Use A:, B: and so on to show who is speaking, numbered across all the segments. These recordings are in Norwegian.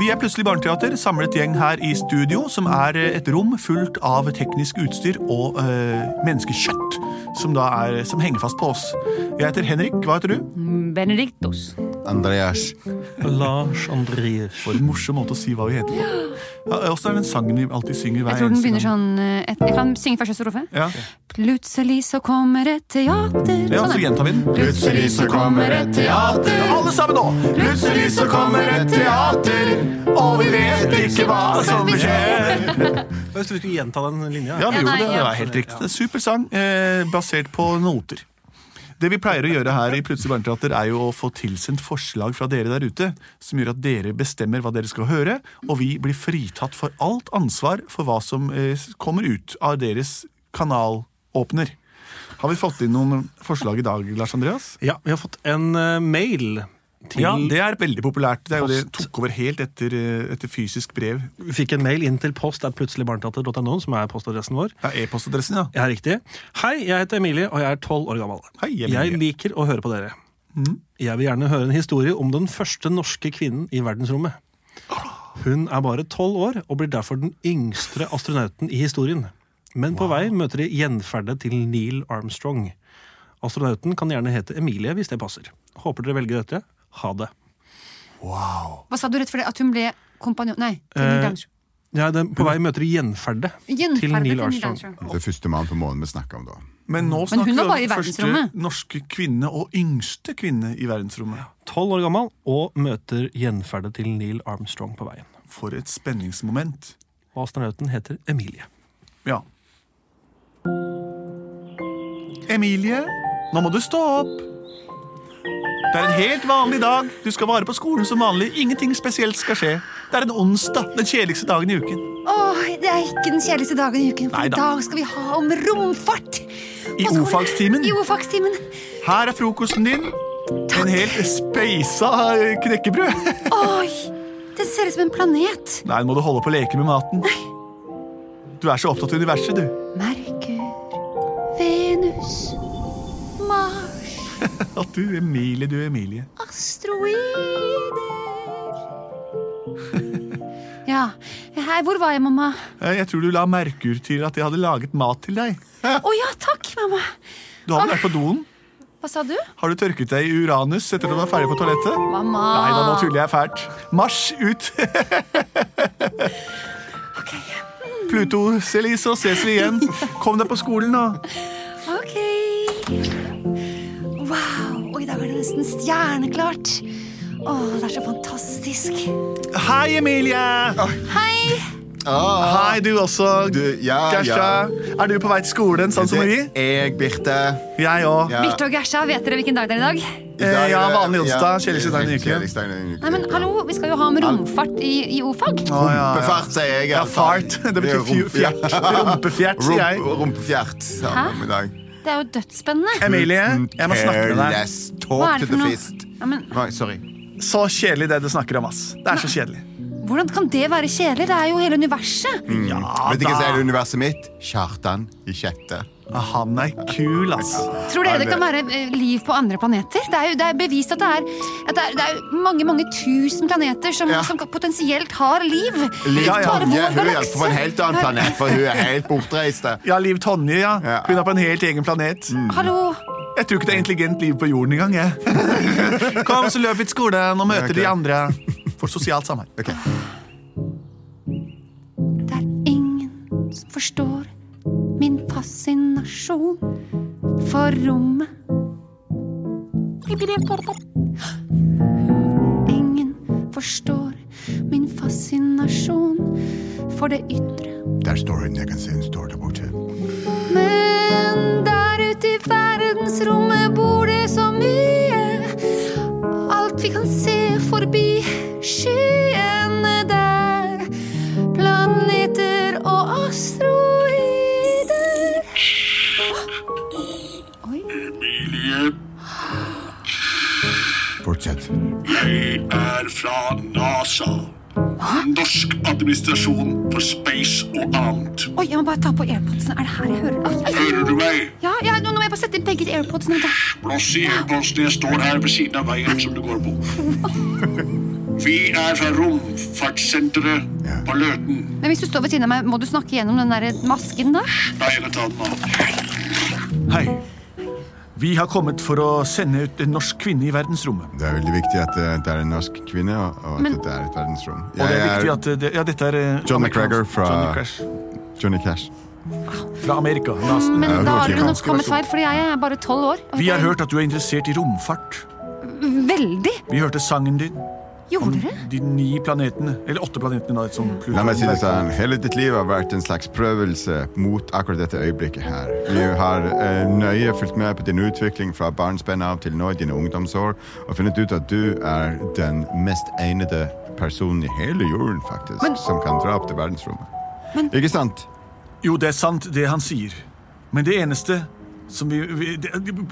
A: Vi er Plutselig barneteater, samlet gjeng her i studio, som er eh, et rom fullt av teknisk utstyr og øh, menneskekjøtt, som, da er, som henger fast på oss. Jeg heter Henrik, hva heter du?
B: Benedictus.
C: Andreas.
D: Lars Andreas.
A: For en morsom måte å si hva vi heter på. Ja, Åssen er den sangen vi alltid synger hver
B: Jeg tror den
A: eneste
B: begynner
A: gang?
B: sånn eh, et, Jeg kan synge første strofe.
A: Ja,
B: Plutselig så kommer et teater.
A: ja så
B: Sånn, ja.
A: gjentar vi den.
C: Plutselig så kommer et teater.
A: Alle sammen nå!
C: Plutselig så kommer et teater, og vi vet ikke hva som skjer.
D: Jeg trodde vi skulle gjenta den linja.
A: Ja, vi
B: Ja,
A: gjorde
B: nei,
A: det. Det
B: ja.
A: var helt riktig. Det er Super sang, eh, basert på noter. Det vi pleier å gjøre her i Plutselig barneteater, er jo å få tilsendt forslag fra dere der ute, som gjør at dere bestemmer hva dere skal høre, og vi blir fritatt for alt ansvar for hva som eh, kommer ut av deres kanalåpner. Har vi fått inn noen forslag i dag, Lars Andreas?
D: Ja, vi har fått en eh, mail til
A: Ja, det er veldig populært. Det er jo det tok over helt etter, eh, etter fysisk brev.
D: Vi fikk en mail inn til post at plutseligbarneteater.no, som er postadressen vår.
A: Ja, E-postadressen, ja.
D: Ja, riktig. Hei, jeg heter Emilie, og jeg er tolv år gammel.
A: Hei, Emilie. Mm.
D: jeg liker å høre på dere. Jeg vil gjerne høre en historie om den første norske kvinnen i verdensrommet. Hun er bare tolv år og blir derfor den yngste astronauten i historien. Men på vei møter de gjenferdet til Neil Armstrong. Astronauten kan gjerne hete Emilie hvis det passer. Håper dere velger dette. Ha det.
B: Hva sa du rett for det? At hun ble kompanjong... Nei. til
D: Eh,
B: Neil Armstrong.
D: Ja, den, på vei møter de gjenferdet
B: Gjenferdet
D: til Neil Armstrong.
B: Armstrong.
C: Det er første mann på månen vi snakker om da.
A: Men nå
B: Men
A: snakker
B: hun
A: vi
B: var bare i
A: om første
B: verdensrommet.
A: norske kvinne og yngste kvinne i verdensrommet.
D: Tolv år gammel og møter gjenferdet til Neil Armstrong på veien.
A: For et spenningsmoment.
D: Og astronauten heter Emilie.
A: Ja. Emilie, nå må du stå opp. Det er en helt vanlig dag. Du skal vare på skolen som vanlig. Ingenting spesielt skal skje. Det er en onsdag, den kjedeligste dagen i uken.
B: Åh, det er ikke den kjedeligste dagen i uken, for
A: Nei
B: i
A: da.
B: dag skal vi ha om romfart!
A: I
B: På skolen.
A: ordfagstimen.
B: I ordfagstimen.
A: Her er frokosten din. En helt speisa eh, knekkebrød.
B: Oi! Det ser ut som en planet.
A: Nei, nå må du holde på å leke med maten. Du er så opptatt av universet, du.
B: Merkur, Venus, Mars,
A: At du, Emilie, du, Emilie.
B: asteroider Ja. Hei, hvor var jeg, mamma?
A: Eh, Jeg tror du la merke til at jeg hadde laget mat til deg.
B: Å ja, takk, mamma.
A: Du har vel vært på doen?
B: Hva sa du?
A: Har du tørket deg i uranus etter at du var ferdig på toalettet?
B: Mamma.
A: Nei da, nå tuller jeg fælt. Marsj ut! Pluto, Celise, så ses vi igjen. Kom deg på skolen, da.
B: Ok. Wow, og i dag er det nesten stjerneklart. Å, det er så fantastisk.
A: Hei, Emilie!
B: Hei!
C: Ah,
A: Hei, du også.
C: Du, ja,
A: Gersta. Er du på vei til skolen, sånn som vi?
C: det er jeg, Birte.
A: Jeg òg.
C: Ja.
B: Birte og Gersa, vet dere hvilken dag det er i dag?
C: I dag er
A: eh, Ja,
C: det-
A: vanlig onsdag, kjedeligste dagen i uken.
C: kjedeligste dagen i uken.
B: Nei, men hallo, vi skal jo ha om romfart i, i O-fag.
A: Å, ja, ja.
C: Rumpefart, sier jeg. i
A: ja,
C: alle fall.
A: fart. Det betyr
C: er
A: fju-
C: rump-
A: fjert. Rumpefjert, sier jeg.
C: Rump- Rumpefjert. sa vi om i dag.
B: Det er jo dødsspennende.
A: Emilie, jeg må snakke med deg.
C: Careless
B: Hva
C: talk
B: er det
C: to the
B: for noe?
C: fist.
B: Ja, men
C: Nei, sorry.
A: Så kjedelig det du snakker om, ass. Det er så kjedelig.
B: hvordan kan det være kjedelig? Det er jo hele universet.
C: Mm. Vet du hva som er det universet mitt? Kjartan i sjette.
A: Ah, Han er kul, ass.
B: Tror dere
C: Nei,
B: det kan være eh, liv på andre planeter? Det er jo det er bevist at det er, at det er, det er mange, mange tusen planeter som,
C: Ja.
B: som potensielt har liv.
C: Liv
A: Ja, ja.
B: Bare
C: Tonje
B: vår
C: hun er
B: galakse.
C: på en helt annen planet, for hun er helt bortreist.
A: Ja, Liv Tonje, ja.
C: Ja. Mm.
A: Hun er på en helt egen planet.
B: Hallo.
A: Jeg tror ikke det er intelligent liv på jorden engang. jeg. Kom, så løp vi til skolen og møter
C: Ok.
A: de andre for sosialt samvær.
C: Ok.
B: Det er ingen som forstår min fascinasjon for rommet. Ingen forstår min fascinasjon for det ytre.
C: Der står hun. Jeg kan se hun står der borte.
B: Men der ute i verdensrommet bor det så mye. Alt vi kan se forbi skyene der. Planeter og asteroider. Oi.
C: Fortsett.
E: Jeg er fra NASA. Norsk administrasjon for space og annet.
B: Oi, jeg må bare ta på airpodsene. Er det her jeg hører? Oi, oi, oi.
E: Hører du meg?
B: Ja, ja, nå nå må jeg bare sette inn begge airpodsene. vet du.
E: Blås i airpodsene. Jeg står her ved siden av veien som du går på. Vi er fra romfartssenteret
C: Ja.
E: på Løten.
B: Men hvis du står ved siden av meg, må du snakke gjennom den der masken, da?
E: Nei, jeg kan ta den av.
A: Hei. Vi har kommet for å sende ut en norsk kvinne i verdensrommet.
C: Det er veldig viktig at eh, det er en norsk kvinne, og og at
B: Men-
C: det er et
A: Og
C: verdensrom.
A: det
C: Jeg
A: er
C: er
A: viktig at eh, det, Ja, dette er eh,
C: John
A: amerikansk-
C: McGregor fra-
A: Johnny Crash.
C: Johnny Cash.
A: fra Amerika. NASA.
B: Men
C: Ja,
B: da har
C: ok,
B: dere nok
C: ganske
B: kommet
C: versjon.
B: feil, fordi jeg er bare tolv år.
A: Vi har hørt at du er interessert i romfart.
B: Veldig!
A: Vi hørte sangen din om
B: Gjorde dere?
A: de ni planetene. Eller åtte planetene, da. et sånt Pluto.
C: La meg si det sånn, Hele ditt liv har vært en slags prøvelse mot akkurat dette øyeblikket her. Vi har eh, nøye fulgt med på din utvikling fra barnsben av til nå i dine ungdomsår, og funnet ut at du er den mest egnede personen i hele jorden, faktisk,
B: Men-
C: som kan dra opp til verdensrommet. Ikke sant?
A: Jo, det er sant, det han sier. Men det eneste som vi, vi det,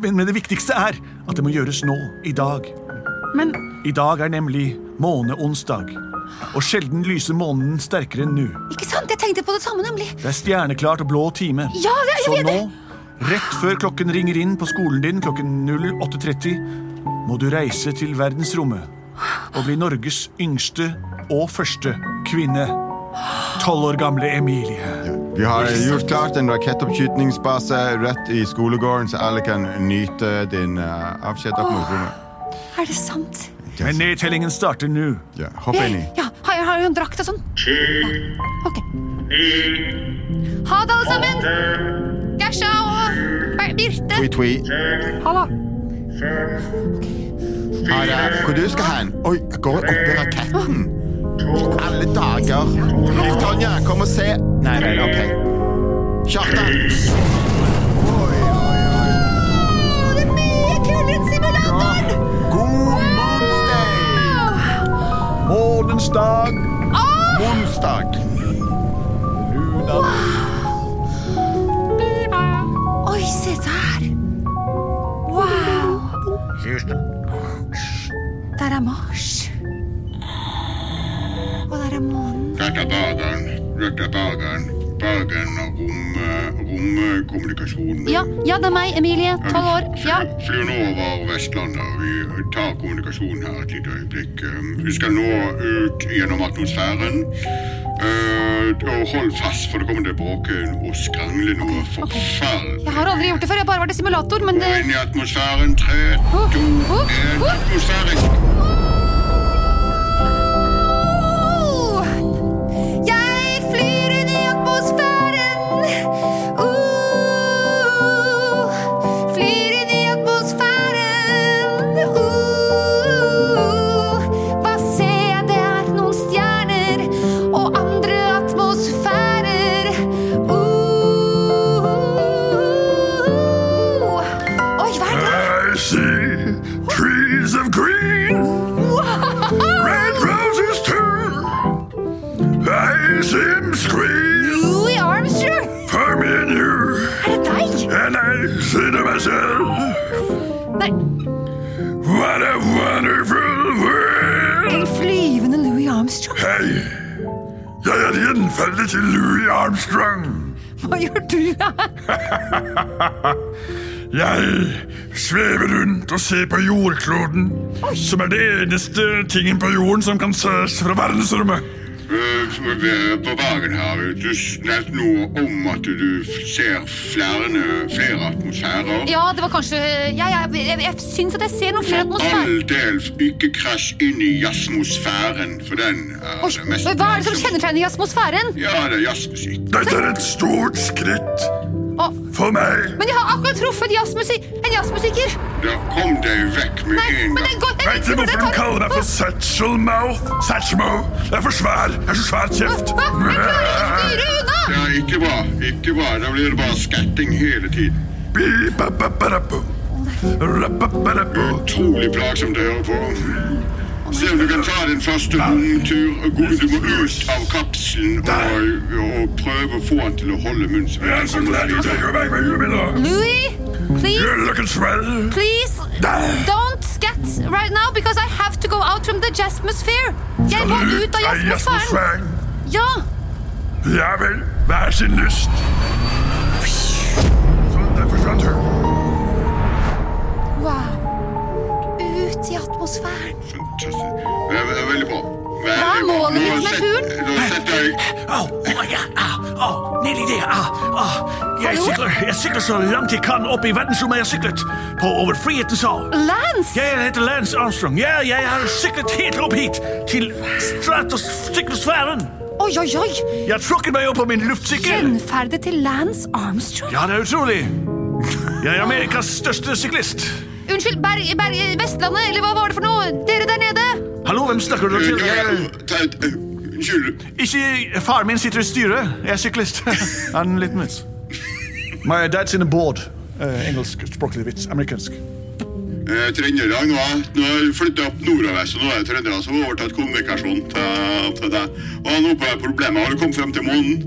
A: men, men det viktigste er at det må gjøres nå. I dag.
B: Men
A: I dag er nemlig måneonsdag. Og sjelden lyser månen sterkere enn nå.
B: ikke sant? Jeg tenkte på det samme, nemlig.
A: Det er stjerneklart og blå time.
B: Ja, det- jeg
A: Så
B: vet
A: nå,
B: det.
A: rett før klokken ringer inn på skolen din klokken 08.30, må du reise til verdensrommet og bli Norges yngste og første kvinne. Tolv år gamle Emilie.
C: Vi har gjort klart en rakettoppskytningsbase rett i skolegården, så alle kan nyte din eh, avskjed opp mot rommet.
B: Er det sant?
A: Men nedtellingen starter nå.
C: Ja, hopp
B: Jeg,
C: inn i.
B: ja, har jeg, har jeg en drakt og sånn? Ok. Ha det, alle sammen! Gersa og Ber- Birte.
C: Twi-twi.
B: Ha det.
C: Ha det. Hvor du skal hen? Oi, jeg går opp i raketten. Alle dager. Liv Tonje, kom og se. Nei, nei, ok. Kjartan. Oi, oi, oi.
B: Det er mye kulere enn simulatoren!
C: God Moonsday.
A: Månens dag.
C: Onsdag.
B: Oi, se der! Wow! Der er Mars. Og der er månen.
E: Dette er bageren. Dette er bageren. Bageren og rom, romkommunikasjonen.
B: Ja, ja, det er meg, Emilie. Tolv år. Ja.
E: Flyr nå over Vestlandet, og vi tar kommunikasjonen her et lite øyeblikk. Eh, Vi skal nå ut gjennom atmosfæren. Eh, og hold fast, for det kommer til å bråke og skrangle noe forferdelig.
B: Jeg har aldri gjort det før. Jeg har bare vært i simulator, men det
E: Inn i atmosfæren. Tre, to,
B: Oh,
E: én.
B: oh, oh.
E: Atmosfærisk.
B: Oh, Jeg flyr inn i atmosfæren. Oh, flyr inn i atmosfæren. Oh, hva ser jeg? Det er noen stjerner og andre atmosfærer. Oh, oi, hva er det?
E: I see trees of green, red roses too. I see him scream,
B: Louis Armstrong!
E: I'm in here,
B: Er det deg?
E: and I say to myself,
B: Nei,
E: what a wonderful world.
B: en flyvende Louis Armstrong.
E: Hei, jeg er gjenferdet til Louis Armstrong.
B: Hva gjør du her?
E: Jeg svever rundt og ser på jordkloden, som er det eneste tingen på jorden som kan ses fra verdensrommet. På Bergen her, du nevnte noe om at du ser flere, flere atmosfærer.
B: Ja, det var kanskje ja, ja, jeg, jeg syns at jeg ser noen flere atmosfærer.
E: Aldeles ikke krasj inn i jazzmosfæren, for den er
B: Oi,
E: det mest
B: Hva er det som kjennetegner atmosfæren?
E: Ja, det er jazzmusikk. Dette er et stort skritt
B: Å,
E: for meg.
B: men jeg har akkurat truffet jazzmusik en jazzmusiker!
E: Da kom deg vekk med
B: Nei,
E: en
B: men
E: gang.
B: den går- jeg
E: Vet
B: vet ikke
E: du
B: hvor den
E: hvorfor de
B: tar-
E: kaller meg for Satchelmouth? Satchelmouth? Jeg er for svær. Jeg er så svær
B: Hva?
E: kjeft.
B: Hva? Jeg klarer ikke å styre unna!
E: Ja, ikke bra. Ikke bra. Da blir det bare skatting hele tiden. Utrolig plagsomt å høre på. Se om du kan ta din første rundtur. og gå- Du må ut av kapselen og, og prøve å få han til å holde munnen sin. Jeg er så glad i deg. Jeg meg
B: Louis, please, please,
E: Der.
B: don't scat right now, because I have to go out from the jazzmosphere. Jeg må ut av jazzmosfæren. Ja!
E: Ja vel. Hver sin lyst. Sånn, der forsvant hun.
B: Wow. Ut i atmosfæren.
E: Sånn, Tusen. Det er, det er veldig bra. Veldig
B: Hva er
E: bra.
B: målet
E: Nå
B: ditt med
E: set-
B: turen?
E: Nå setter jeg
F: Au, oh, ja, ah, ah, nedi der. Ah, ah. Jeg,
B: Hallo?
F: sykler, jeg sykler så langt jeg kan opp i verdensrommet jeg har syklet. På over frihetens hav.
B: Lance!
F: Jeg heter Lance Armstrong. Ja, jeg har syklet helt opp hit. Til stratosfæren.
B: Oi, oi, oi!
F: Jeg har trukket meg opp på min luftsykkel.
B: Gjenferdet til Lance Armstrong?
F: Ja, det er utrolig. Jeg er Amerikas største syklist.
B: Unnskyld, Berg... Berg... Vestlandet, eller hva var det for noe? Dere der nede?
F: Hallo, hvem snakker du til? Jeg-
E: eh, Unnskyld.
F: eh,
A: Ikke Faren min sitter i styret. Jeg er syklist. Han er en liten vits. My dad's in a board. Uh, Engelskspråklig vits. Amerikansk.
E: Eh, Trønderne nå er- nå har jeg flyttet opp nordover, så nå er det trøndere som har overtatt kommunikasjonen til, til deg. Og han oppe har problemet. Har du kommet frem til månen?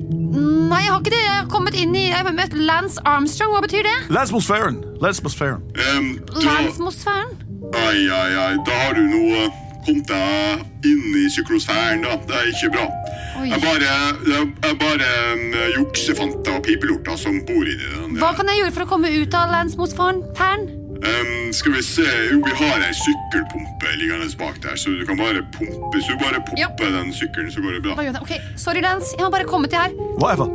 B: Nei, jeg har ikke det. Jeg har kommet inn i Jeg har møtt Lance Armstrong. Hva betyr det?
A: Landsmosfæren. Landsmosfæren.
E: Em, da,
B: Landsmosfæren?
E: ai, ai, ai, da har du nå eh, kommet deg inn i syklosfæren, da. Det er ikke bra.
B: Oi.
E: Jeg bare, jeg, jeg bare eh, em, juksefanter og pipelorter som bor inni den.
B: Hva kan jeg gjøre for å komme ut av Landsmosfæren? Færen?
E: Ehm, skal vi se Jo, vi har ei sykkelpumpe liggende bak der, så du kan bare pumpe. Hvis du bare pumper
B: Ja.
E: den sykkelen, så går det bra.
B: Hva gjør jeg? Ok, Sorry, Lance. Jeg har bare kommet til her.
A: Whatever.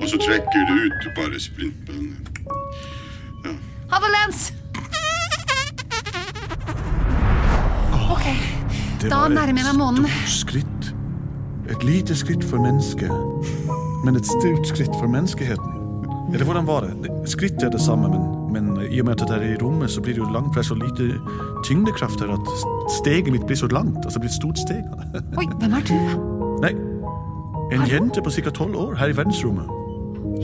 E: Og så trekker du ut bare splintbønnen.
B: Ha det, Lance. Ok,
A: Det
B: da
A: var et
B: nærmer jeg meg månen.
A: stort skritt. Et lite skritt for mennesket, men et stort skritt for menneskeheten. Eller hvordan var det? Det- Skritt er det samme, men, men i og med at det er i rommet, så blir det jo langt, for det er så lite tyngdekraft her at steget mitt blir så langt. Altså det blir et stort steg.
B: Oi, hvem er du?
A: Nei, en jente på ca. tolv år her i verdensrommet.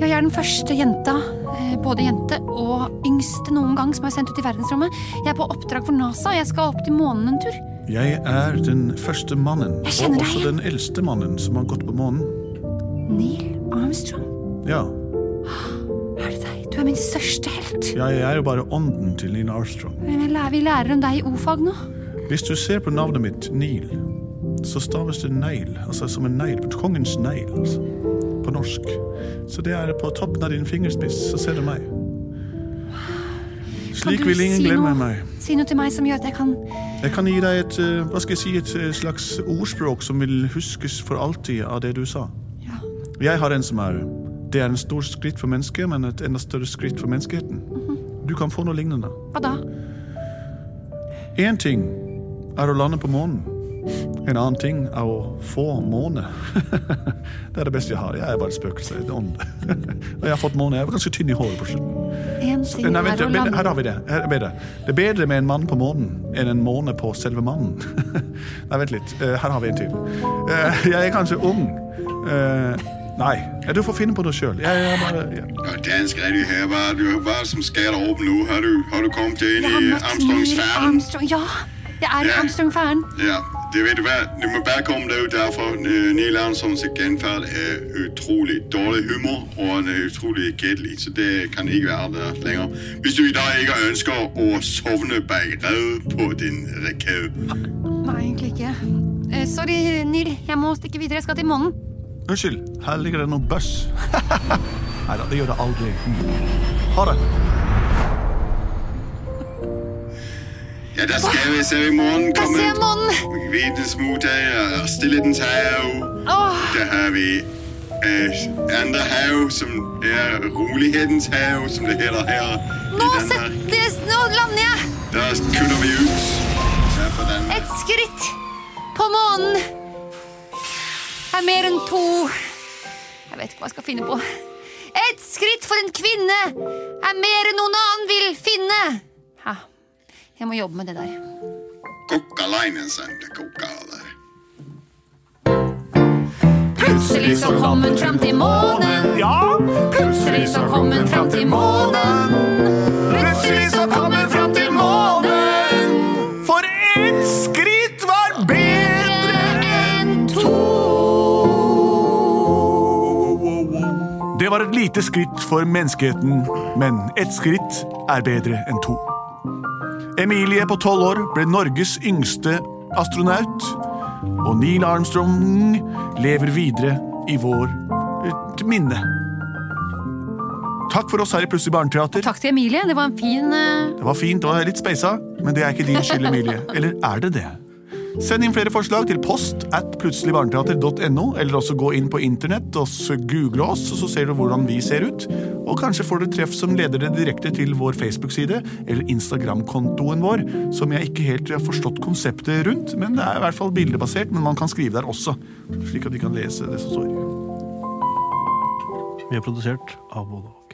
B: Ja, Jeg er den første jenta, eh, både jente og yngste noen gang, som er sendt ut i verdensrommet. Jeg er på oppdrag for NASA, og jeg skal opp til månen en tur.
A: Jeg er den første mannen,
B: Jeg
A: og
B: kjenner deg
A: også
B: igjen.
A: den eldste mannen som har gått på månen.
B: Neil Armstrong,
A: Ja,
B: er det deg? Du er min største helt.
A: jeg er jo bare ånden til Nina Armstrong.
B: Men Vi lærer, vi lærer om deg i o-fag nå.
A: Hvis du ser på navnet mitt, Neil, så staves det negl. Altså som en negl. Kongens negl, altså. På norsk. Så det er på toppen av din fingerspiss, så ser du meg.
B: Kan
A: Slik
B: du
A: vil ingen
B: si
A: glemme
B: noe-
A: meg.
B: Si noe til meg som gjør at jeg kan
A: Jeg kan gi deg et, eh, hva skal jeg si, et eh, slags ordspråk som vil huskes for alltid av det du sa.
B: Ja.
A: Jeg har en som er Det er en stor skritt for mennesket, men et enda større skritt for menneskeheten.
B: Mhm.
A: Du kan få noe lignende.
B: Hva da?
A: Én ting er å lande på månen. En annen ting er å få måne. det er det beste jeg har. Jeg er bare et spøkelse. En ånd. Og jeg har fått måne. Jeg var ganske tynn i håret på slutten.
B: En ting
A: Nei,
B: er
A: vent,
B: å
A: men, her
B: lande
A: har vi det. Her er bedre. Det er bedre med en mann på månen enn en måne på selve mannen. Nei, vent litt. Eh, Her har vi en til. Eh, Jeg er kanskje ung. Eh, Nei, du får finne på noe sjøl.
E: Ja, den skal du ha. Hva, du, hva er det som skal deg opp nå? Har du, har du kommet deg inn
B: Jeg har
E: i
B: møtt Neil
E: Armstrongs-sfæren?
B: Armstrong. Ja, jeg er i
E: Ja.
B: Armstrong-færen.
E: Ja, det vet du hva. Du må bare komme deg ut derfra. Eh, Neil Armstrongs genferd er utrolig dårlig humor, og han er utrolig kjedelig, så det kan ikke være der lenger. Hvis du i dag ikke ønsker å sovne bak redet på din rekke
B: Nei, egentlig ikke. Eh, Sorry, Neil. Jeg må stikke videre. Jeg skal til månen.
A: Unnskyld, her ligger det noe bøss. Nei da, det gjør det aldri. Ha det.
E: Ja, der skal vi se i morgen
B: Der
E: komme
B: ser jeg månen!
E: vitensmottager og stillhetens hav.
B: Åh,
E: Der har vi øh, andre hav, som er rolighedens hav, som det hedder her. i
B: nå,
E: Danmark.
B: settes, nå lander jeg!
E: Der kutter vi ut. Ja, for Danmark.
B: Et skritt på månen er mer enn to Jeg vet ikke hva jeg skal finne på. Et skritt for en kvinne er mer enn noen annen vil finne. Ha. Jeg må jobbe med det der.
E: Kokkaleinen, som det koker av der.
B: Plutselig så kom hun fram til månen.
A: Ja,
B: Plutselig så kom hun fram til månen. Plutselig så kom hun fram til månen.
A: for ett skritt var bedre
B: En,
A: Det var et lite skritt for menneskeheten, men ett skritt er bedre enn to. Emilie på tolv år ble Norges yngste astronaut, og Neil Armstrong lever videre i vår et minne. eh, Takk for oss her i Plutselig barneteater.
B: Takk til Emilie. Det var en fin eh,
A: Det var fint og litt speisa, men det er ikke din skyld, Emilie. Eller er det det? Send inn flere forslag til post at plutseligbarneteater.no, eller også gå inn på internett og s- google oss, og så ser du hvordan vi ser ut. Og kanskje får du treff som leder deg direkte til vår Facebook-side eller Instagram-kontoen vår, som jeg ikke helt har forstått konseptet rundt, men det er i hvert fall bildebasert, men man kan skrive der også, slik at de kan lese det som står.
D: Vi er produsert av både og.